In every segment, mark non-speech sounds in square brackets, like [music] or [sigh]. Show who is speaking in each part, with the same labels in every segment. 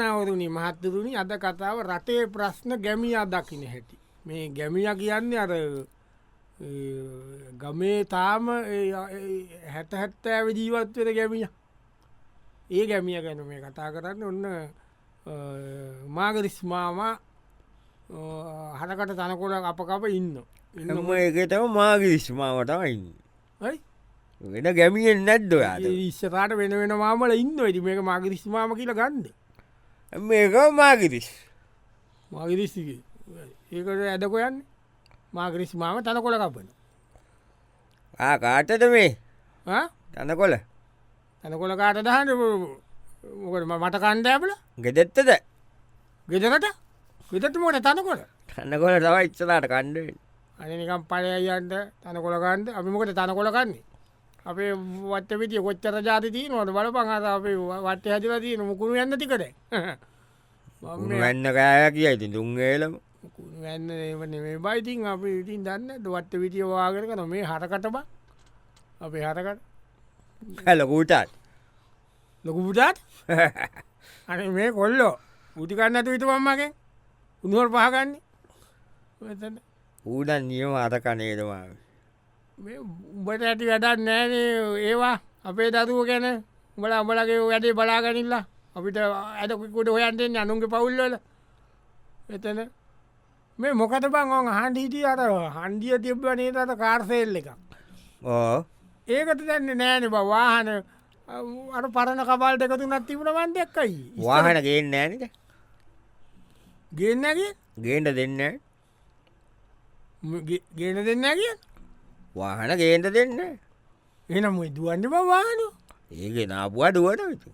Speaker 1: නොනවරුණි මහත්තරුණි අද කතාව රටේ ප්‍රශ්න ගැමියා දකින හැටි. මේ ගැමිය කියන්න අර අ, ගමේ තාම හැතහැත්තෑව ජීවත්වර ගැමිය ඒ ගැමිය ගැන මේ කතා කරන්න ඔන්න මාගරිස්මාම හරකට තනකොඩක් අප කප ඉන්න
Speaker 2: හැම එකතම මාගේ විශ්මාවටමයින්න
Speaker 1: යි?
Speaker 2: වෙන ගැමියෙන් නැද්ද ඔයාට
Speaker 1: ඉස්සරට වෙන වෙන මාමල ඉන්න ඇති මේක මාගරිස්මාම කියල ගන්ද
Speaker 2: මේක මාගිරිස්
Speaker 1: මගරිස්ගේ ඒකට ඇදකොයන් මාගරිස්මාම තනකොළ කපන
Speaker 2: ආකාටට මේ
Speaker 1: ආ?
Speaker 2: තනකොල
Speaker 1: තනකොළ කාට දහන්න මොකට මට කණ්ඩෑපල
Speaker 2: ගෙදෙත්තද
Speaker 1: ගෙදකට ගෙදට මෝට තනකොට
Speaker 2: තනකොල තව ඉච්චලාට කණ්ඩුවෙන්
Speaker 1: අනිකම් පලයන්ට තනකොළකන්ද අපි මොකට තනකොළකන්නේ අපේ වට පිටිය කොච්චර ජාතිතිී නොට බල පහත අපේ වට ඇතිවතිී නොමුකුණු යන්න තිකට
Speaker 2: වෙන්න කෑය කියයිති දුන්ගේලම
Speaker 1: වැන්න මේ බයිතින් අපි ඉතින් දන්න වට විටිය වාගෙන කන මේ හරකටබ අපේ හරකට
Speaker 2: හැලකූටත්
Speaker 1: [laughs] ලොකුපුටාත් අන මේ කොල්ලෝ බුටිකන්නතු විතුවම්මගේ උනුවල් පහගන්නේ මෙතන.
Speaker 2: ඌඩන් නියම අත කනේදමා
Speaker 1: මේ උඹට ඇති වැඩක් නෑන ඒවා අපේ දතුව ගැන බල අඹලගේ වැඩේ බලාගැනිල්ලා අපිට ඇතකුට හොයන්ටෙන් අනුන්ගේ පවුල්ලල එතන මේ මොකට බං ඕන් හන්ඩ හිටිය අර හන්ඩිය තිබ්බ නේතට කාර්සෙල් එකක්
Speaker 2: ඕ
Speaker 1: ඒකට දැන්නේ නෑන බවාහන අර පරණ කබල් දෙකතු නත්තිබුණවන් දෙක්කයි
Speaker 2: වාහන ගේන්න ෑනට
Speaker 1: ගන්නගේ
Speaker 2: ගේන්ට දෙන්න
Speaker 1: ගෙන දෙන්න කිය
Speaker 2: වාහන ගේන්ට දෙන්න
Speaker 1: එනම් දුවන්න බවානු
Speaker 2: ඒක නාපුවා දුවට විතු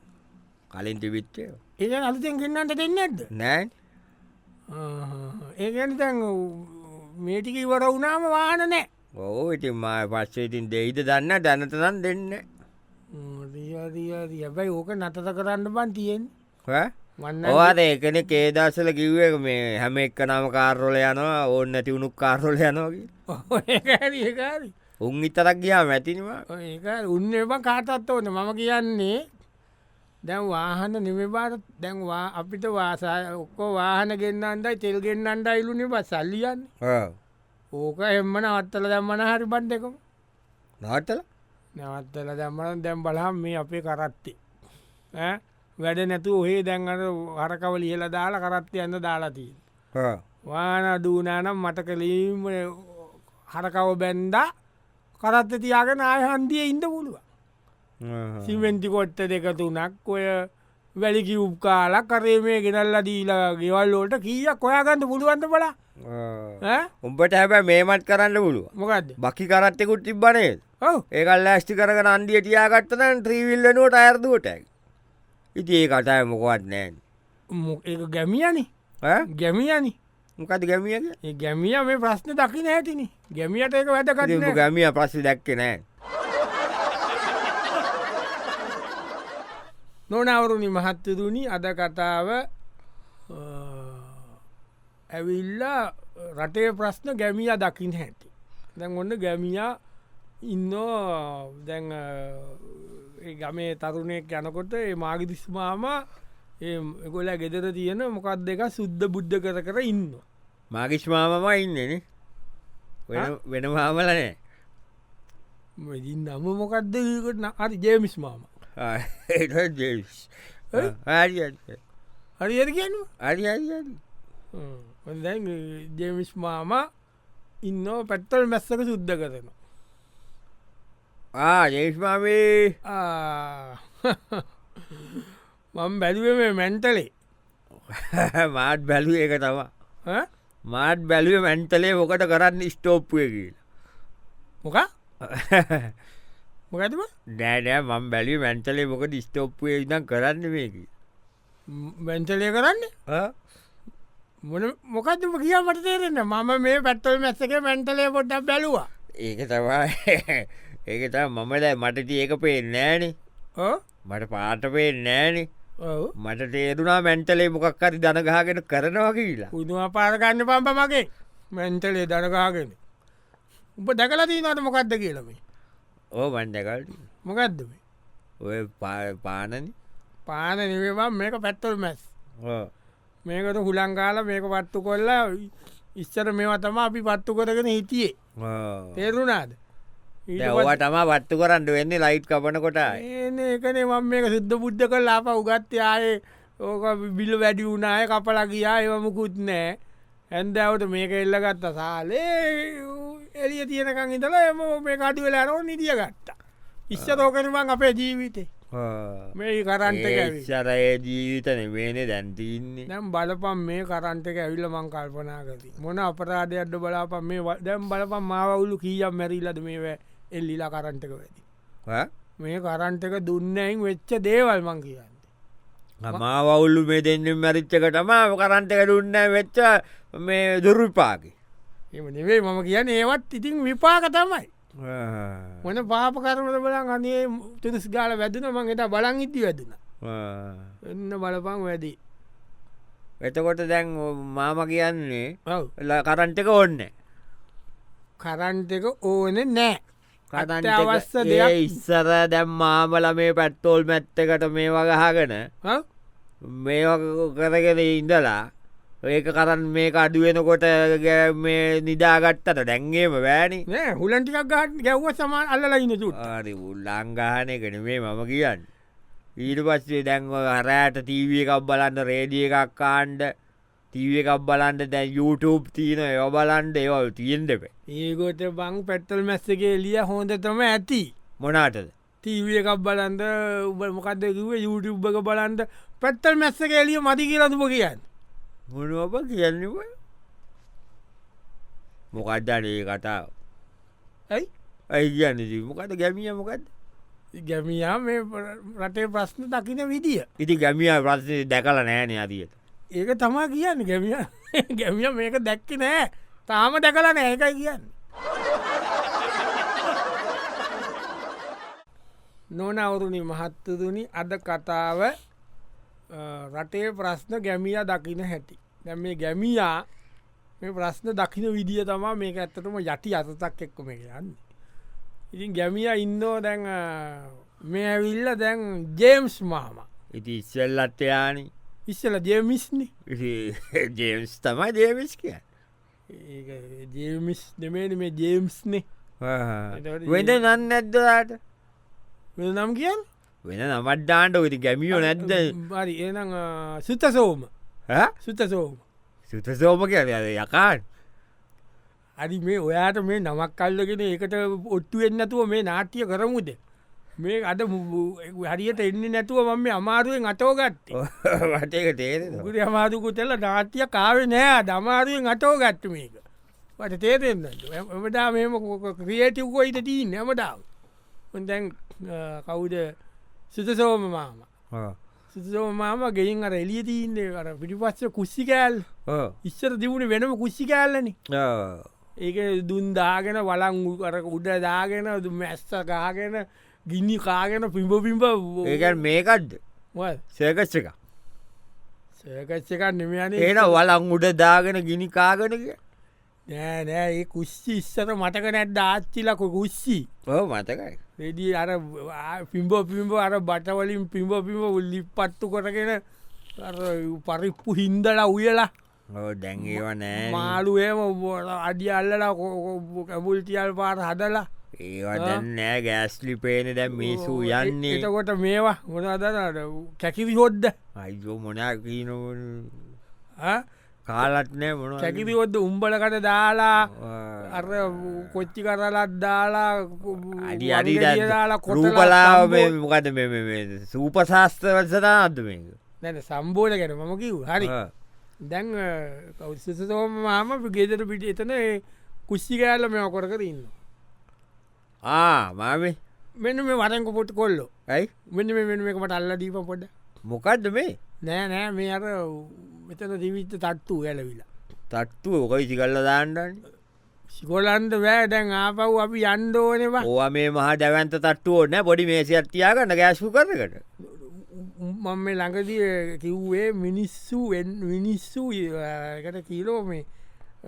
Speaker 2: කලින් තිබිච්චය
Speaker 1: ඒ අලුතෙන් ගෙන්න්නට දෙන්න ඇද
Speaker 2: නෑන්
Speaker 1: ඒගැන තැන් මේටික ඉවර වුණාම වාන නෑ
Speaker 2: ඕ ඉතින් ම පස්සේ ඉතින් දෙයිද දන්න දැනතනම් දෙන්න
Speaker 1: දීදිය හැබැයි ඕක නතත කරන්න බන් තියෙන්
Speaker 2: හොය?
Speaker 1: වන්න
Speaker 2: ඔවාද එකන කේදස්සල කිව්ව මේ හැම එක් නම කාරොල යනවා ඕන්න ඇති උුණුක් කාරොල යනෝකි
Speaker 1: ඒකාරි
Speaker 2: උන් ඉතරක් ගියා මැතිනිවා
Speaker 1: ඒක උන්න එබ කාටත් ඕන මම කියන්නේ දැන් වාහන නිමබාට දැන්වා අපිට වාසා ඔක්කෝ වාහන ගෙන්න්නන්ටයි තෙල් ගෙන්න්නන්ට අයිලුනි බස් සල්ලියන්න ඕක එම්මන අත්තල දැම්මන හරි බන්්ඩකම
Speaker 2: නවටල
Speaker 1: නවත්තල දැම්මන දැම් බලහම් මේ අපේ කරත්තේ ඈ? වැඩ නැතු ඔහේ දැන්ගට හරකවල ඉහල දාලා කරත්ය යන්න දාලාතිී. වාන දූනානම් මට කලීම හරකව බැන්ඩා කරත්ත තියාගෙන ආයහන්දිය ඉන්න පුළුව සිවෙන්ටි කොට්ට දෙක තුනක් ඔය වැලිකි උප්කාලක් කරේ මේ ගෙනල්ල දීලා ගෙවල්ලෝට කිය කොයාගන්න පුළුවන්ද බලා
Speaker 2: උඹට හැබැ මේමත් කරන්න පුළුව
Speaker 1: මොකක්ද
Speaker 2: බකි කරත්තෙකුත් තිබ්බනේ
Speaker 1: ඔව
Speaker 2: ඒකල් ඇස්ටි කරග අන්ඩිය තියාගත්තන ත්‍රීවිල්ලනුවට අයරදුවටැක් ඉති ඒ කටය මොකවත් නෑන්
Speaker 1: එක ගැමියනි ගැමියනි
Speaker 2: මොකද ගැමියක
Speaker 1: ඒ ගැමිය මේ ප්‍රශ්න දකින ඇතිනි ගැමියට එක වැඩ කටින
Speaker 2: ගැමිය පස්සි දැක්ක නෑ
Speaker 1: නොනවරුණි මහත්තතුනි අද කතාව අ, ඇවිල්ලා රටේ ප්‍රශ්න ගැමිය දකිින් හැටි. දැන් ඔන්න ගැමිය ඉන්න දැන් අ, ඒ ගමේ තරුණයක් යනකොට ඒ මාගිදිස්මාම එකොල ගෙදර තියෙන මොකක් දෙක සුද්ධ බුද්ධ කර කර ඉන්න.
Speaker 2: මාගිෂ්මාමම ඉන්නන වෙන මාමලනෑ
Speaker 1: ඉන්න අම මොකක්ද කට අරි ජේමිස්මාම
Speaker 2: අරි
Speaker 1: හරි ඇ කියනවා. දැන් ජේමිස් මාම ඉන්න පැත්තල් මැස්සක සුද්ධ කරන
Speaker 2: [laughs] ආදේශමාමේ
Speaker 1: මං බැලුව මේ මැන්ටලේ
Speaker 2: මාට් බැලුව එක තවා මාට් බැලුව මැන්තලේ මොකට කරන්න ස්ටෝප්පුය [laughs]
Speaker 1: මොක
Speaker 2: කියලා
Speaker 1: මොකතිම
Speaker 2: නෑනෑ මම් බැලි මැන්තලේ මොකට ස්ටෝප්පුය ඉදම් කරන්න මේකි
Speaker 1: මැන්ටලේ කරන්න මොන මොකත්ම කිය මට තේරෙන මම මේ පැත්තල් මැස්සක මැන්ටලේ පොඩ්ඩක් බැලවා
Speaker 2: ඒක තවා [laughs] ඒක ත මමල මටට ඒක පේ නෑනේ මට පාටපේ නෑනේ
Speaker 1: ඔව
Speaker 2: මට තේරුණා මැන්තලේ මොකක් හරි දනගාගෙන කරනවා කියලා
Speaker 1: පුදුම පාරගන්න පම්ප මගේ මැන්ටලේ දනකාගෙන උප දැකලදී නට මොකක්ද කියලමේ
Speaker 2: ඕ මන්දකල්ට
Speaker 1: මොකක්දමේ
Speaker 2: ඔය පානන
Speaker 1: පාන නිවේවා මේක පැත්තල් මැස් මේකට හුළංකාල මේක පත්තු කොල්ලා ඉස්සර මේවා තම අපි පත්තු කරගෙන හිටියේ තේරුණාද ඊට
Speaker 2: ඔවා තමා වත්තු කරන්න වෙන්නේ ලයිට් කපන කොට
Speaker 1: ඒන එකනේ මම මේක සුද්ධ බුද්ධ කල් අප උගත්්‍යයායේ ඕක බිල්ල වැඩි වුණය කපලා ගියා ඒවමකුත් නෑ ඇන්දවට මේක එල්ලගත්ත සාලේ එලිය තියෙනකං ඉතල එම මේ කටි වෙලාරෝ නිදිය ගත්තා ඉස්සතෝකරමං අපේ ජීවිතේ මේ කරන්ට ඇවි
Speaker 2: ශරය ජීවිතන වේනේ දැන්තින්නේ
Speaker 1: දැම් බලපම් මේ කරන්ටක ඇවිල්ල මං කල්පනා කරති මොන අපරාධ අඩ්ඩ බලාපම් මේ ව- දැම් බලපම් මාවුලු කීයම් මැරිල්ලද මේ එල්ලිලා කරන්ටක වැදි මේ කරන්ටක දුන්නයින් වෙච්ච දේවල් මං කියන්න
Speaker 2: මාවුල්ලු මේ දෙන්නම් මැරිච්චකටම කරන්ටක දුන්න වෙච්ච මේ දුරුපාකි
Speaker 1: එම නෙවේ මම කියන ඒවත් ඉතින් විපාක තමයි මොන පාප කරමට බලන් අනේ තුනිස් ගාල වැදන මං එට බලන් ඉති වැදෙන එන්න බලපං වැදී
Speaker 2: එතකොට දැන් මාම කියන්නේ
Speaker 1: ඔව්
Speaker 2: ලා කරන්ටක ඔන්න
Speaker 1: කරන්ටක ඕන නෑ
Speaker 2: කතන්ට
Speaker 1: අත්‍යවශ්‍ය දෙයක්.
Speaker 2: ඉස්සර දැම් මාමල මේ පැට්ටෝල් මැත්තකට මේ වගහගෙන
Speaker 1: ඔව්.
Speaker 2: මේ කරගෙන ඉඳලා ඒක කරන්න මේ අඩුවෙනකොට ගෑ- මේ නිදාගත්තට දැන්ගේම වැෑනි
Speaker 1: නෑ හුලන්ටිකක් ගාට ගැව්ව සමාන් අල්ලලයින්න චුට
Speaker 2: ආරි උල්ලංගානයකට මේ මම කියන්න ඊට පස්සේ දැන්ව හරෑට තීවිය එකක් බලන්න රේඩිය එකක් කාණ්ඩ තීවිය එකක් බලන්ට දැ YouTube තියන ඒව බලන්ඩ ඒවල් තියෙන් දෙපේ
Speaker 1: ඒගොට බං පැටල් මැස්සගේ එලිය හොඳතම ඇති
Speaker 2: මොනාටද
Speaker 1: තීවිය එකක් බලන්ද උබ මොකක්දකිව යුටබ්බක බලන්ද පැත්තල් මැස්සක එලිය මති කියලතුම කියන්න
Speaker 2: මොනුවප කියන්නව මොකක්දන ඒ කතාව
Speaker 1: ඇයි
Speaker 2: ඇයි කියන්න ඉතින් මොකද ගැමිය මොකක්ද
Speaker 1: ගැමියා මේ ප- රටේ ප්‍රශ්න දකින විදිිය
Speaker 2: ඉති ගැමිය ප්‍රශ්නය දැකල නෑන අදියට
Speaker 1: ඒක තමා කියන්න [laughs] ගැමිය ගැමිය මේක දැක්ක නෑ තාම දැකලා නෑ එකයි කියන්න නොනවුරුණි මහත්තතුනි අද කතාව අ, රටේ ප්‍රශ්න ගැමිය දකින හැටි දැම් මේ ගැමියා මේ ප්‍රශ්න දකින විදිිය තමා මේක ඇත්තටම යටි අතතක් එක්කොම කියන්න ඉතින් ගැමිය ඉන්නෝ දැන් අ, මේ ඇවිල්ල දැන් ජේම්ස් මාම
Speaker 2: ඉති ඉස්සල්ලත්තයානි
Speaker 1: ඉස්සල ජේමිස්නි
Speaker 2: ජේම්ස් තමයි ජේවිස් කිය
Speaker 1: ඒ ජේමිස් දෙමේන මේ ජේම්ස්නේ එතකොට
Speaker 2: වෙන නන්න නැද්දලාට
Speaker 1: වෙන නම් කියන්
Speaker 2: වෙන නමට්ඩාන්ට ඉති ගැමියෝ නැද්ද
Speaker 1: බරි ඒනම් සුත සෝම සුත සෝම
Speaker 2: සුතසෝම කියල යකාන්
Speaker 1: අරි මේ ඔයාට මේ නමක් කල්ලගෙන ඒකට ඔට්ටු එන්නතුව මේ නාට්‍ය කරමුද මේ අද මු- හරියට එන්න නැතුව මම මේ අමාරුවෙන් අතෝ ගත්ත
Speaker 2: වටක තේරෙන
Speaker 1: ගුරි අමාරුකුතෙල්ල නාට්‍ය කාවේ නෑ අද අමාරුවෙන් අතෝ ගත්ත මේක වට තේරෙන්න එමදා මෙම ක්‍රියටිව්කොයිට තිීන් නැමදාව හොඳැන් කවුද සුතසෝම මාම සුතසෝමාම ගෙයින් අර එලිය තිීන්නේ අර පිටිපස්ස කුස්සිකෑල් ඉස්සර තිබුණ වෙනම කුස්සිකෑල්ලන ඒක දුන් දාගෙන වලං උ- අර උඩ දාගෙන දු- මැස්ස ගාගෙන ගිනි කාගෙන පිම්බ පිම්බ
Speaker 2: ඒක මේකක්ද සේකස් එක
Speaker 1: සකච්චකන් නිමයන
Speaker 2: ඒන වලං උඩ දාගෙන ගිනි කාගෙනක
Speaker 1: නෑනෑ ඒ කුස්සි ඉස්සර මටක නැත් ආච්චිලක කුස්සි
Speaker 2: ඕ මතකයි
Speaker 1: රෙඩී අර පිම්බ පිම්බ අර බටවලින් පිම්බ පිම්බ උල්ලි පත්තු කොටගෙන අර පරිප්පු හින්දලා උයලා
Speaker 2: ඕ දැන්ඒව නෑ
Speaker 1: මාළුවම අඩි අල්ලලා කැබුල්ටියල් පාර හදලා
Speaker 2: ඒවදන් නෑ ගෑස්ලි පේන දැම් මිසු යන්නේ
Speaker 1: එතකොට මේවා ගොනදනට කැකිවි හොද්ද
Speaker 2: අයිෝ මොනා කීනවන් කාලත්නෑ මොන
Speaker 1: කැකිවි හොද්ද උම්බලකට දාලා අර කොච්චි කරලත් දාලා
Speaker 2: අඩි අඩි රූපලාව මොකද සූපශාස්ත්‍රවසනාද මේක
Speaker 1: නැන සම්බෝධ ගැන මම කිව් හරි දැන් කෞසතෝම මාම ගෙදර පිට එතන ඒ කුස්්ි කෑල්ල මෙ කොරකර ඉන්න
Speaker 2: ආ මාමේ
Speaker 1: මෙන්න මේ වරංක පොට් කොල්ලෝ
Speaker 2: ඇයි
Speaker 1: මෙන්න මේ මෙන්න එකකට අල්ල දීප පොඩ
Speaker 2: මොකක්ද මේ
Speaker 1: නෑ නෑ මේ අර මෙතන දිවිත තට්ටු ගැලවිලා
Speaker 2: තට්ටුව ඕකයි සිකල්ල දාන්නන්න
Speaker 1: සිකොලන්ද වැෑ දැන් ආපව් අපි යන්ඩෝනවා
Speaker 2: ඕවා මේ මහා දැවන්ත තට්ටුව ඕන්න පොඩි මේසිත්තියාගන්න ගෑශු කරකට
Speaker 1: මම මේ ළඟදී ඒ කිව්වේ මිනිස්සු වෙන්- මිනිස්සු ඒකට කීලෝ මේ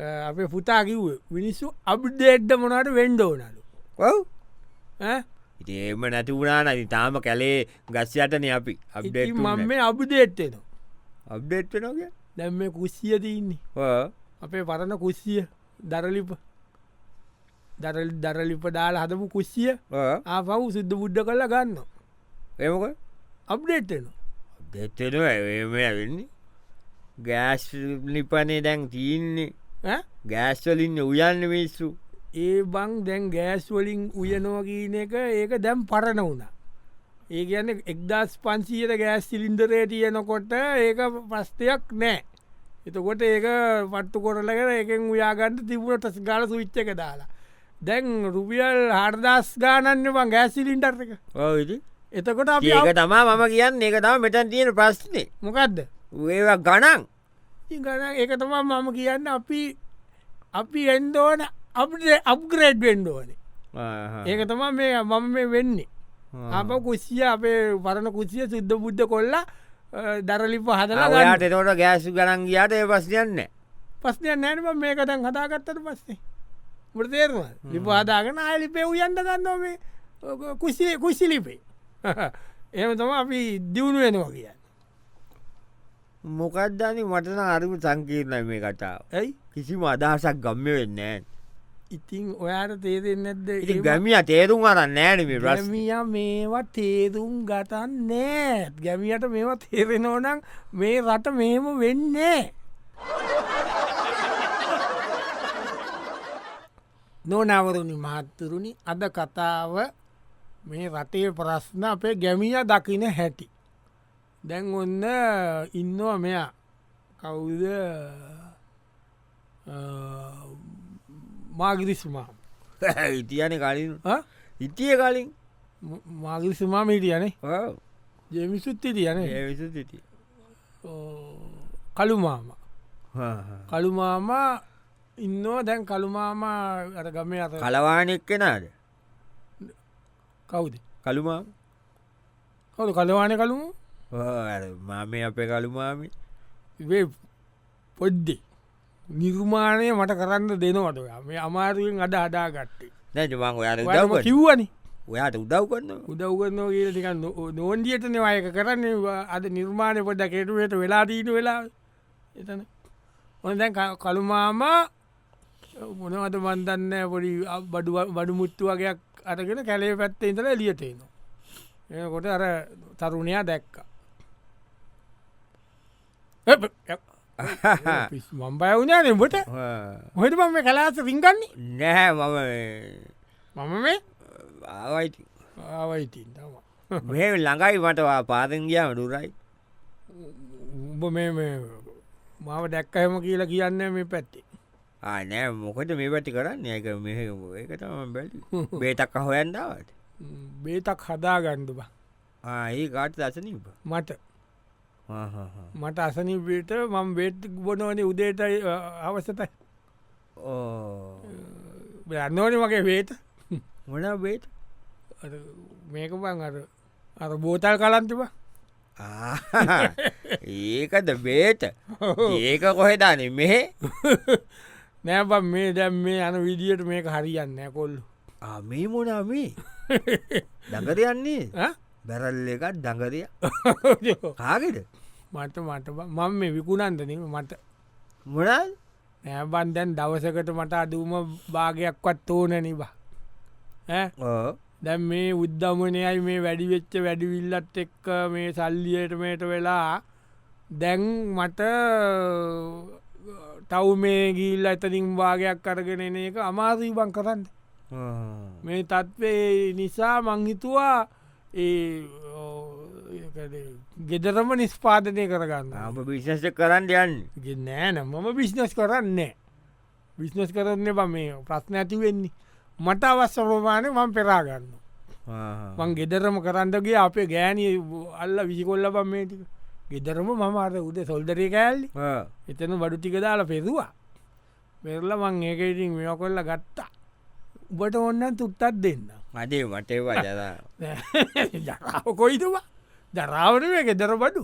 Speaker 1: අ, අපේ පුතා කිව්ව මිනිස්සු අබ්දේට්ද මොනට වෙන්ඩෝනලු
Speaker 2: ඔව්
Speaker 1: ඈ?
Speaker 2: ඉතිඒම නැතිවුණාන ඉතාම කැලේ ගස්යටන අපි
Speaker 1: ඉතින්
Speaker 2: අප්ඩේට්
Speaker 1: මම මේ අබිදේත්තෙන
Speaker 2: අප්ඩේට් නොක
Speaker 1: දැම් මේ කුස්සිය තියන්නේ අපේ පරණ කුස්සිය දරලිප දරල් දරලිප දාලා හදපු කුස්සිය ආපහු සුද්ධ බුද්ධ කල්ලා ගන්න
Speaker 2: එමක
Speaker 1: අප්ඩේට්න
Speaker 2: දෙත්තෙන ඒම ඇවෙන්නේ ගෑස් ලිපනේ දැන් තියන්නේ ගෑස්වලින්න උයන්න මිස්සු
Speaker 1: ඒ බං දැන් ගෑස්වලින් උයනෝ කියන එක ඒක දැම් පරණ වුණා ඒ ගැන එක්දස් පන්සීයට ගෑස් සිලින්දරේ තියනකොට ඒක ප්‍රස්ථයක් නෑ එතකොට ඒක පට්ටු කොරලගෙන එකෙන් උයාගන්න තිබුණ ටස් ගාල සුවිච්ච එක දාලා දැන් රුපියල් හර්දස් ගානන්න බං ගෑස්සිලින්ටර් එක
Speaker 2: ඕවිදි
Speaker 1: එතකොට අපි
Speaker 2: ඒක තමා මම කියන්න එක තම මෙතන් තියෙන ප්‍රශ්නේ
Speaker 1: මොකක්ද
Speaker 2: ඒවා ගණන්
Speaker 1: ඉතින් ගණන් ඒක තමා මම කියන්න අපි අපි එන්දෝන අපේ අප්ග්‍රේඩ් වෙන්ඩෝනේ ඒක තමා මේ මම මේ වෙන්නේ අප කුසිය අපේ පරණ කුසිය සුද්ධ බුද්ධ කොල්ලා අ, දරලිප හදලා
Speaker 2: ඔයාට තෝට ගෑසු ගණන් ගියාට ඒ පස්යන්න
Speaker 1: පස්නය නෑනම මේකතන් හදාගත්තට පස්සේ මෘතේරම ලිපාදාගෙන ආලිපේ උයන්ට ගන්නවා මේ ඔක කුසිේ [laughs] කුසිලිපේ එම තම අපි දියුණු වෙනවා කියන්න
Speaker 2: මොකක්ධනි මටන අරිම සංකීර්ණ මේ කතාව
Speaker 1: ඇයි
Speaker 2: කිසිම අදහසක් ගම්ම වෙන්න
Speaker 1: ඉතින් ඔයාට තේරෙන් නැද්ද
Speaker 2: ඉති
Speaker 1: ඒ
Speaker 2: ගැමිය තේරුම් අරන්න නෑනම රස් [laughs]
Speaker 1: ගැමිය මේවා තේරුම් ගතන් නෑ ගැමියට මේවා තේරෙනෝනම් මේ රට මෙහෙම වෙන්නේ නොනවරුණි මහත්තුරුණි අද කතාව මේ රටේ ප්‍රශ්න අපේ ගැමිය දකින හැටි දැන් ඔන්න ඉන්නවා මෙයා කවුද මාගිරිස්මා
Speaker 2: ඉතියන කලින් ඉතිය කලින්
Speaker 1: මාගිරිස්මා මිටියනේ ජමිසුත් තියන
Speaker 2: ඒවිසු සිටි
Speaker 1: කළුමාම කළුමාම ඉන්නවා දැන් කළුමාම අර ගමේ අත
Speaker 2: කලවානෙක් කෙනාද
Speaker 1: කවුද
Speaker 2: කළුමා
Speaker 1: කවුද කලවාන කළුමු
Speaker 2: මම අපේ කළුමාමි
Speaker 1: වේ පොද්දි නිර්මාණය මට කරන්න දෙනවට ඔයා. මේ අමාරුවෙන් අඩ අඩා ගත්තේ
Speaker 2: නැජමං ඔයාට
Speaker 1: ඔයාටම
Speaker 2: උදව් කරනවා.
Speaker 1: කිව්වනි
Speaker 2: ඔයාට උදව් කරන්න
Speaker 1: [laughs] උදව්ගන්න කියල ටික නෝන්දියටන අයක කරන්න අද නිර්මාණය පොඩ කෙටුවට වෙලා දීට වෙලා එතන ඔන දැන් ක- කළුමාම මොනවට මන්දන්න පොඩි අ- බඩු බඩු මුත්තු වගේයක් අරගෙන කැලේ පැත්ත ඉඳල එලියටේනවා එකොට අර තරුණයා දැක්ක මම්බය වුණා නෙබට හොට මම මේ කලාස රිංගන්නේ
Speaker 2: නැහැ මම ඒ,
Speaker 1: මම මේ
Speaker 2: ආවයිති
Speaker 1: ආවයිතින් තමා
Speaker 2: මෙ ළඟයි මටවා පාදගියාම ඩුරයි
Speaker 1: උඹ මේ මේ මාව දැක්කහම කියලා කියන්න මේ පැත්තේ
Speaker 2: ආනෑ මොකට මේ වැටි කරන්න ඒක මෙ එකතම බැලි බේටක් හොයන්දාවට
Speaker 1: ම්, බේතක් හදාගණ්ඩ බා
Speaker 2: ඒ ගාට දසනීප
Speaker 1: මට මට අසනීපීට මම බේට් බොනෝනේ උදේටයි අ, අවසතයි යන්නෝන වගේ වේත
Speaker 2: මොන බේට
Speaker 1: අර මේක බං අර අර බෝතල් කලන්තිබ
Speaker 2: [laughs] ඒකද බේට ඒක කොහෙදාන මෙහෙ
Speaker 1: නෑබ මේ දැම් මේ යන විදියට මේක හරියන්න කොල්ලු
Speaker 2: මේ මොනමේ දඟරයන්නේ බැරල්ල එකත් දඟරය කාගෙට
Speaker 1: [laughs] මට මට බං. මම මේ විකුණන්දනීම මට
Speaker 2: මොනා
Speaker 1: නෑබන් දැන් දවසකට මට අඩුම භාගයක්වත් ඕනනිබා ඇ දැන් මේ උද්ධමනයයි මේ වැඩිවෙච්ච වැඩිවිල්ලත් එක්ක මේ සල්ලියටමට වෙලා දැන් මට තව් මේ ගිල්ල ඇතනින් භාගයක් කරගෙන එන එක අමාරී බං කරන්න මේ තත්වේ නිසා මංහිතුවා ඒ ගෙදරම නිස්්පාදනය කරගන්න
Speaker 2: ආම විිශෂ කරන්න යන්න
Speaker 1: නෑන මම බිස්්නස් කරන්නේ බිස්්නස් කරන්න බ මේ ප්‍රශ්න ඇති වෙන්නේ මට අවස්සරෝමානය මං පෙරාගන්න මං ගෙදරම කරන්නගේ අපේ ගෑනී අල්ල විසිකොල්ල බම් මේ ටික ගෙදරම මම අර උද සොල්දරය කෑල්ලි එතන බඩු ටික දාලා පෙදවා පෙරල මං ඒකඉතින් මෙ කොල්ල ගත්තා උබට ඔන්න තුත්තත් දෙන්න [laughs]
Speaker 2: අදේ වටේවා ජදා
Speaker 1: ජරාව කොයිතුවා දරාවට මේ ගෙදර [laughs] බඩු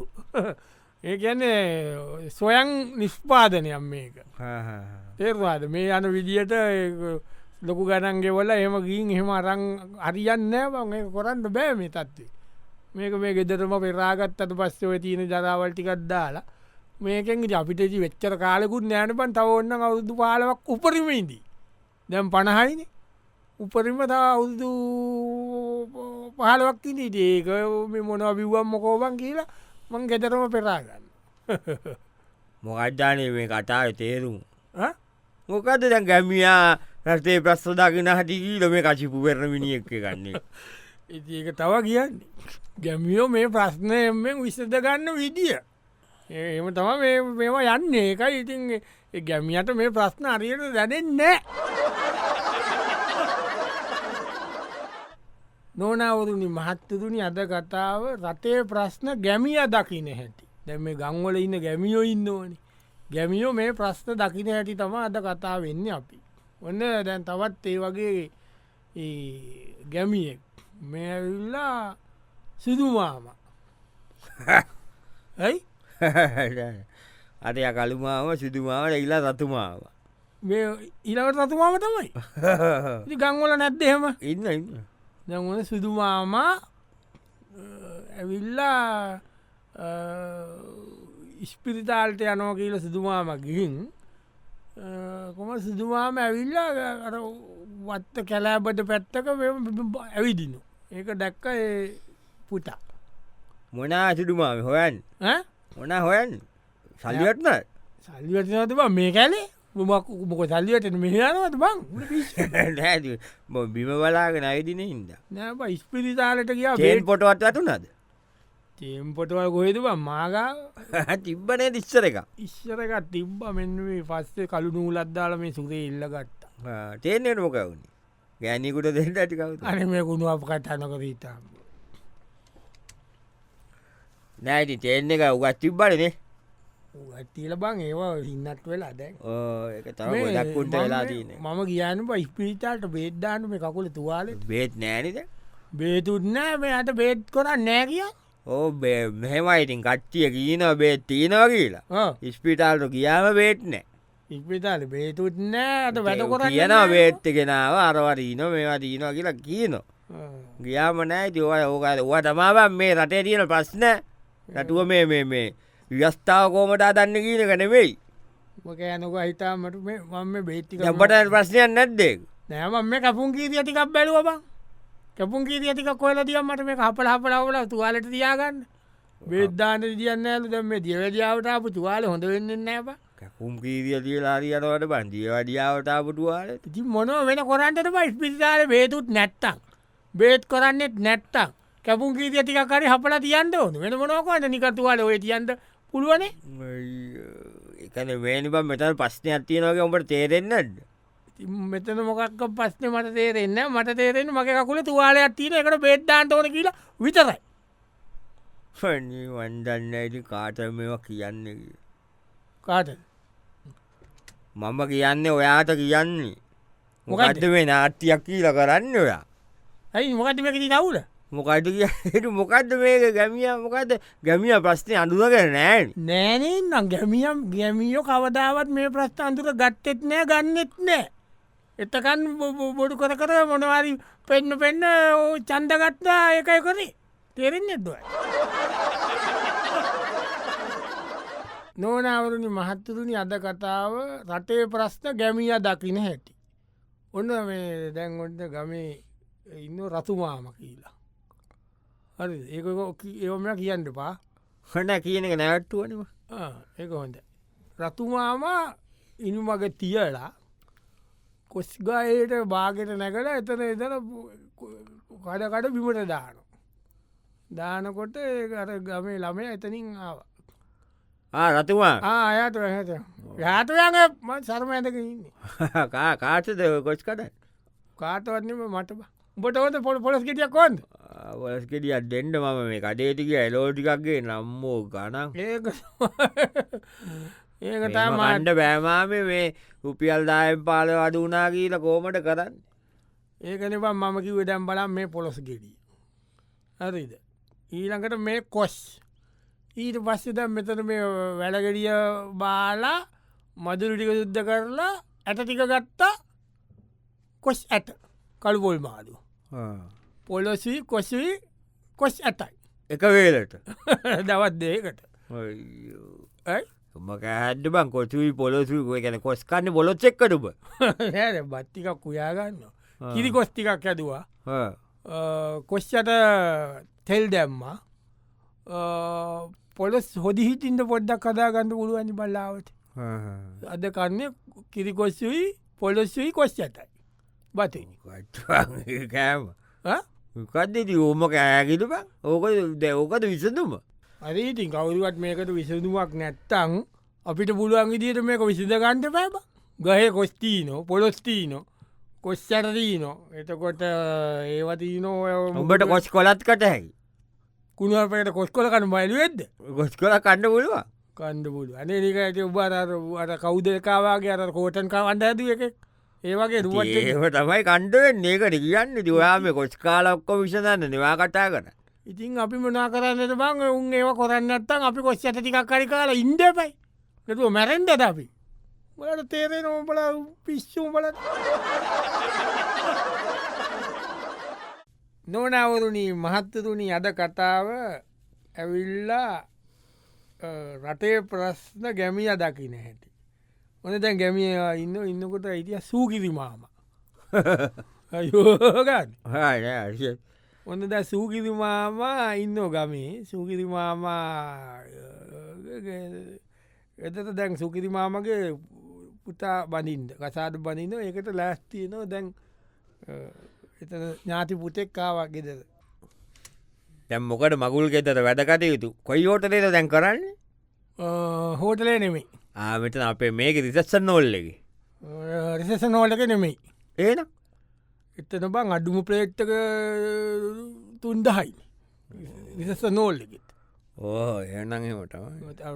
Speaker 1: ඒකැන්නේ සොයන් නිස්්පාදනයක් මේක තේරවාද මේ යන විදියට ලොකු ගණන්ගෙවල එම ගීන් එහෙම අරං අරියන්නෑ බං ඒක කොරන්න බෑ මේ තත්ත්වේ මේක මේ ගෙදරම පෙරාගත්තට පස්සේ ඔය තියෙන ජරාවල්ටිකත් දාලා මේකෙන් ඉතින් අපිට ඉතින් වෙච්චර කාලෙකුත් නෑන බන් තව ඔන්න අවුරුදු පාලවක් උපරිමේදී දැම් පණහයින උපරිම තව අවුරුදු පහලවක් ඉදිට ඒක මේ මොනව බිව්වම් මොකෝබන් කියලා මං ගෙතරම පෙරාගන්න [laughs]
Speaker 2: මොකජ්ජානය මේ කතාව තේරුම් මොකද දැන් ගැමියා රටේ ප්‍රස්සදාගෙන හටිකීල මේ කචිපු පෙරණ මිනිියක් ගන්නේ
Speaker 1: ඉති ඒක තව කියන්නේ ගැමියෝ මේ ප්‍රශ්නයෙන් විසඳ ගන්න විදිිය එම තම මේවා යන්න ඒකයි ඉතින් ඒ ගැමියට මේ ප්‍රශ්න අරියට දැනෙන්නේ නොනවරුණි මහත්තතුනි අද කතාව රටේ ප්‍රශ්න ගැමිය දකින හැටි දැ මේ ගංවල ඉන්න ගැමියෝ ඉන්න ඕනි ගැමියෝ මේ ප්‍රශ්න දකින හැටි තම අද කතා වෙන්න අපි ඔන්න දැන් තවත් ඒ වගේ ඒ ගැමියෙක් මේල්ලා සිදුමාම ඇයි
Speaker 2: [laughs] අට යකළුමාව සිදුමාව ඉල්ලා රතුමාව
Speaker 1: ඉලවට රතුමාම තමයි ඉතින් ගංවල නැත්දහෙම
Speaker 2: [laughs] ඉන්න ඉන්න
Speaker 1: දැවන සිදුමාමා ඇවිල්ලා ඉස්පිරිතාල්ට යනෝ කියල සිදුමාම ගිහින් කොම සිදුමාම ඇවිල්ලා අර වත්ත කැලෑබට පැත්තක මෙම ඇවිදිනු ඒක දැක්ක ඒ පුතා
Speaker 2: මොනා සිදුමාව හොයන්
Speaker 1: ඈ?
Speaker 2: මොන හොයන් සල්ලිවත්න [laughs]
Speaker 1: සල්ලිවටනතු බ මේ කැලේ මොමක් මොක සල්ලිවටන මෙහනවත බං
Speaker 2: බිම බලාගෙන අයිදින හින්ද
Speaker 1: නැබ ඉස්පිරිතාලට කියා
Speaker 2: ඒෙන් පොටවත් ඇතුනද [laughs]
Speaker 1: තේම්පොටවල් ගොහේතුබ මාගා
Speaker 2: තිබ්බනය තිස්සර එක
Speaker 1: ඉශ්රක තිබ්බ මෙන්න මේ පස්සේ කළු නූලද්දාල මේ සුදේ ඉල්ලගත්තා
Speaker 2: තේනයට මොකවුණේ ගෑනිකුට දෙට ඇටිකවතු
Speaker 1: අන මේ ගුණු අප කටනක රීතාම්
Speaker 2: නෑති තේන එක උගත් තිබ්බලනේ
Speaker 1: ඇතිල බං ඒවා ඉන්නත් වෙලා දැ
Speaker 2: ඒක තම දක්කුන්ට වෙලා තියන
Speaker 1: මම කියන බ ඉස්පිරිතාට බේද්ධාන මේ කකුල තුවාල
Speaker 2: බේත් නෑනද
Speaker 1: බේතුන්නෑ මෙයට බේත් කොරන්න නෑ කිය
Speaker 2: ඕ මෙහෙමයිඉතින් කට්ටිය කියීන බේත් තියනවා කියලා ඉස්පිටාල්ට කියාම බේට් නෑ
Speaker 1: ඉස්පිතාල බේතුත් නෑ අට වැට කොරන්න
Speaker 2: කියන
Speaker 1: නෑ.
Speaker 2: බේත්ත කෙනාව අරවරීන මේවා දීනවා කියලා කියනවා
Speaker 1: ආ.
Speaker 2: ගියාම නෑ තිවල ඕකද වා තමාබන් මේ රටේ තියෙන ප්‍රශ්න රටුව මේ මේ මේ ව්‍යස්ථාව කෝමටා දන්න කියන කනෙවෙයි
Speaker 1: මොක යනක අහිතාමට මම බේත්තික
Speaker 2: ගබට ප්‍රශ්නයන් නැද්දෙක්
Speaker 1: නෑම මේ කැපුන් කීතිය ටිකක් බැලුව බං කැපුන් කීතිය ටික කොල දිය මට මේ හපල හපලවල තුවාලට තියාගන්න බේද්ධාන දියන්න ඇලු දැම දියවැඩියාවටපු තුවාල හොඳ වෙන්න නෑබ
Speaker 2: කැකුම් කීදිය තියලාරියනවට බන්දිය වඩියාවටාපුටුවාල
Speaker 1: ති මොනව වෙන කොරන්ට පයිස් පිසිතාල බේතුත් නැත්තං බේත් කරන්නෙත් නැත්තං කැපුන් කීතිය ටිකරි හපල තියන්ට ඕන වෙන මොනොකන්න නිකතුවාල ඔය තියන්ට පුළුවනේ
Speaker 2: එකන වේනි බම් මෙතන ප්‍රශ්නයක් තියනගේ ඔඹට තේරෙන්න්නද
Speaker 1: ඉතින් මෙතන මොකක් පස්න මට තේරෙන්න මට තේරෙන මගේ කකුල තුවාලයක් තියන එකට බේද්ධාන්ට ඕන කියලා විතරයි
Speaker 2: පනී වන්දන්න ඇති කාට මේවා කියන්න කියලා.
Speaker 1: කාට
Speaker 2: මම කියන්නේ ඔයාට කියන්නේ
Speaker 1: මොකද්ද?
Speaker 2: මොකද මේ නාට්‍යයක් කියල කරන්න ඔයා
Speaker 1: ඇයි මොකට මේකති කවුල
Speaker 2: මොකයිට [laughs] කියට මොකක්ද මේක ගැමිය මොකද ගැමිය ප්‍රශ්නය අඳුවගෙන නෑන්
Speaker 1: නෑනේන්නම් ගැමියම් ගැමියෝ කවදාවත් මේ ප්‍රස්ථ අන්තුර ගත්තෙත් නෑ ගන්නෙත් නෑ. එතකන් බො- බො- බොඩු කර කර මොනවාරි පෙන්න පෙන්න ඕ චන්දගත්තා ඒකයි කරේ තෙරෙන් [laughs] ඇදයි. නෝනවරුණි මහත්තුරුණි අද කතාව රටේ ප්‍රශ්න ගැමිය දකින හැටි. ඔන්න මේ දැන් ඔන්න ගමේ ඉන්න රතුමාම කියලා. හරි ඒක ඒම කියන්න පා
Speaker 2: හන කියන එක නැවට්ටුවනම
Speaker 1: ඒක හොඳ රතුමාම ඉනු මග තියලා කොස්්ගයට බාගෙට නැකල එතන එතන කඩකට බිමට දාන දානකොට ඒර ගමේ ළමය එතනින් ආව
Speaker 2: [laughs] රතුවා
Speaker 1: ආයට හැත යාතුයග සරම ඇතක ඉන්නේ
Speaker 2: කාටද කොච් කට
Speaker 1: කාතවත්නම මට බොට හොත පොල පොලස් ගෙටියක් කොන්ද
Speaker 2: වලස්කෙටිය ඩෙන්ඩ මම මේ කඩේටික ඇලෝටිකක්ගේ නම්මෝ ගනන්
Speaker 1: ඒක ඒක තා මාට
Speaker 2: මණ්ඩ බෑමාම මේ රුපියල් දායම් පාල අඩු වනා කියීල කෝමට කරන්න
Speaker 1: ඒකනවා මම කිව ඩැම් බලම් මේ පොලොස ගෙඩිය හරිද ඊළඟට මේ කොස් ඊට පස්සෙද මෙතන මේ වැලගෙඩිය බාලා මදුරු ටික යුද්ධ කරලා ඇට ටික ගත්තා කොස් ඇත කළුපොල් මාඩු පොලොසි කොසි කොස් [laughs] ඇතයි
Speaker 2: එක වේලට
Speaker 1: දවත් දේකට
Speaker 2: ඔයෝ.
Speaker 1: ඇයි? [laughs]
Speaker 2: මකහඩ බං කොතුයි පොලොසුකුව ගැන කොස්කන්න බොලොච්චෙක්කටුබ
Speaker 1: නෑ බත්තිකක් කුයාගන්න කිරි කොස් ටිකක් ඇදවා කොස්්චට තෙල් දැම්මා අ, පොලොස් හොදි හිටින්ට පොඩ්ඩක් කදාගන්න පුළුවනි බල්ලාවට අද කරන්නේ කිරිකොස්සුයි පොලොස්සුයි කොස්්ච ඇතයි බති
Speaker 2: කෑම කද්දති ඕම කෑගිට බං ඕක දැවකද විසඳුම
Speaker 1: අද ඉතින් කවුරුවත් මේකට විසඳුමක් නැත්තං අපිට පුළුවන් විදිට මේක විසිදගන්ට පැබ ගහ කොස්තීනෝ පොලොස්තීනෝ කොස්්චරදීනෝ එතකොට ඒවතිනෝ
Speaker 2: උඹට කොස් කොලත් කට හැකි
Speaker 1: කුණුවපයට කොස්කොල කන බයිලුවෙද්ද
Speaker 2: ගොස් කොල කණ්ඩ පුළුවන්
Speaker 1: කණ්ඩ පුලු අනක ඇති උබාර අට කෞදකාවාගේ අර කෝටන් කවන්ඩ ඇද එක ඒවගේ රුවට
Speaker 2: ඒම තමයි කණ්ඩුවෙන් ඒකට කියන්න දවාම කොස් කාලක්කො විසඳන්න නිවා කටා කර
Speaker 1: ඉතින් අපි මනා කරන්නට බං උන් ඒව කොරන්නත්තන් අපි කොස් ඇට ටිකක් කරි කාලා ඉන්ඩපයි නැතුව මැරෙන්ද අපි ඔට තේරෙන ඕපල පිස්සුම්බල නොනවරුණී මහත්තතුනි අද කතාව ඇවිල්ලා අ, රටේ ප්‍රශ්න ගැමිය දකින හැටි ඕන දැන් ගැමිය ඉන්න ඉන්නකොට ඉතිය සූකිරිමාම යෝගන්න ඔන්න ද සූකිරිමාමා ඉන්න ගමේ සූකිරිමාමා එතට දැන් සුකිරිමාමගේ පුතා බනින්ද කසාට බනින්න ඒකට ලෑස්තියනෝ දැන් අ, එතන ඥාති පුතෙක් කාවක්ගෙද
Speaker 2: දැම් මොකට මගුල් ගෙතට වැඩකටයුතු කොයි ෝටලේට දැන් කරන්න
Speaker 1: හෝටලය නෙමේ
Speaker 2: ආමතන අපේ මේක රිසස්සන්න ඔල්ලෙකි
Speaker 1: රිසස නෝලක නෙමෙයි
Speaker 2: ඒන
Speaker 1: එතන බං අඩුම ප්‍රේට්ටක තුන්දහයි නිසස නෝල්ලෙකෙත්
Speaker 2: ඕ එනගේමට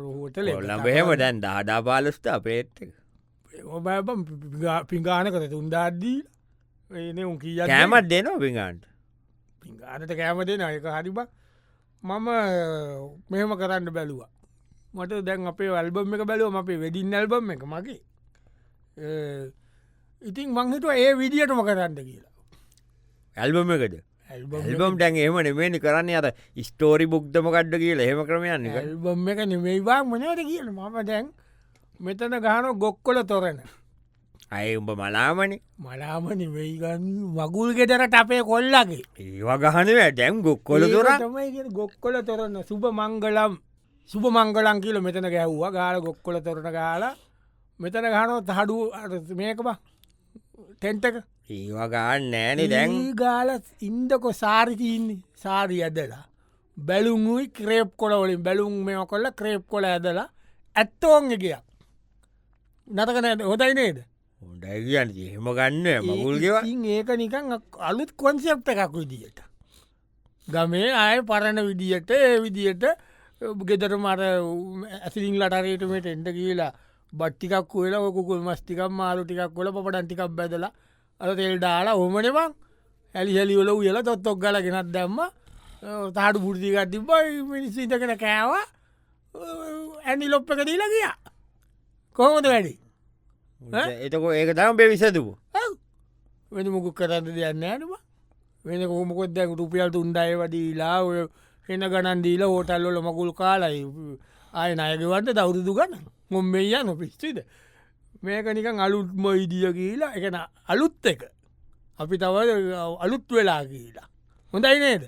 Speaker 1: හෝටල
Speaker 2: ලබහෙම දැන් දාඩා පාලස්ට අපේත්
Speaker 1: ඔබම් පිගාන කර තුන්දාද්දී එන උන් කිය
Speaker 2: කෑමත් දෙනවා පිඟන්ට
Speaker 1: පිගානට කෑමදෙන අයක හරිබ මම මෙහෙම කරන්න බැලුවා මට දැන් අපේ වල්බම් එක බැලුවම අපේ වෙඩින් ඇල්බම් එක මගේ ඒ, ඉතින් මංහිතුව ඒ විදිටම කරන්න කියලා
Speaker 2: ඇල්බම එකද
Speaker 1: ඇල්බම් එක
Speaker 2: ඇල්බම් ටැන් එහම නිමේනි කරන්න අත ස්ටෝරි බුක්්දම කඩ්ඩ කියලා හෙම ක්‍රමයන්න
Speaker 1: ඇල්බම් එක නෙමෙයිවා මනට කියන මම දැන් මෙතන ගාන ගොක්කොල තොරෙන
Speaker 2: අය උඹ මලාමනි
Speaker 1: මලාම නිවෙයිගන්න මගුල් ගෙදරට අපේ කොල්ලගේ
Speaker 2: ඒවගහනව ඩැම් ගොක්කොල තුර
Speaker 1: තමයි ගොක්කොල තොරන්න සුබ මංගලම් සුබ මංගලන් කියල මෙතන ගැහ්වා ගාල ගොක්කොල තොරන ගාලා මෙතන ගානොත් හඩු මේකබ තැන්ටක
Speaker 2: ඒවගහන් නෑනෙ දැන්
Speaker 1: ගාල ඉන්දකො සාරිතින්නේ සාරි ඇදලා බැලුන්යි ක්‍රේප් කොලවලින් බැලුම් මෙ කොල්ල ක්‍රේප් කොල ඇදලා ඇත්තෝන් එකයක් නතකන හොදයි නේද
Speaker 2: හොඩයි කියන්න එහෙම ගන්න මගුල්ගෙව
Speaker 1: ඉතින් ඒක නිකන් අක්- අලුත් කොන්සෙප්ට එකක් විදියට ගමේ ආය පරණ විදියට ඒ විදියට ගෙදර මර ඇසිරිං ලටරේටමට එන්ට කියලා බට්ටිකක් කියල ඔකුකුල් මස්ටිකක් මාරු ටිකක් කොල පටන්ටිකක් බැදලා අර තෙල් ඩාලා හොමනවන් ඇලිහෙලිවල උයල තොත්තොක් ගල ගෙනත් දැම්ම තාඩු පුෘතිකත් තිබයි මිනිස්සීතකෙන කෑවා ඇනි ලොප්ප එක දීලා ගියා කොහොමද වැඩි
Speaker 2: එතක ඒක තම පේ විසතුපු
Speaker 1: වෙන මුකුක් කරන්න දෙයන්න ඇනවා වෙන කොමකොත් දැක රුපියල් තුන්ඩය වඩීලා ඔය හෙන ගණන් දීල හෝටල්ලොල මකුල් කාලයි ආය නයගවන්ට දෞරුදු ගන්න මොම් මෙය නො පිස්්චිද මේක නිකන් අලුත්ම ඉදිය කියලා එකන අලුත් එක අපි තව අලුත් වෙලා කියලා හොඳයි නේද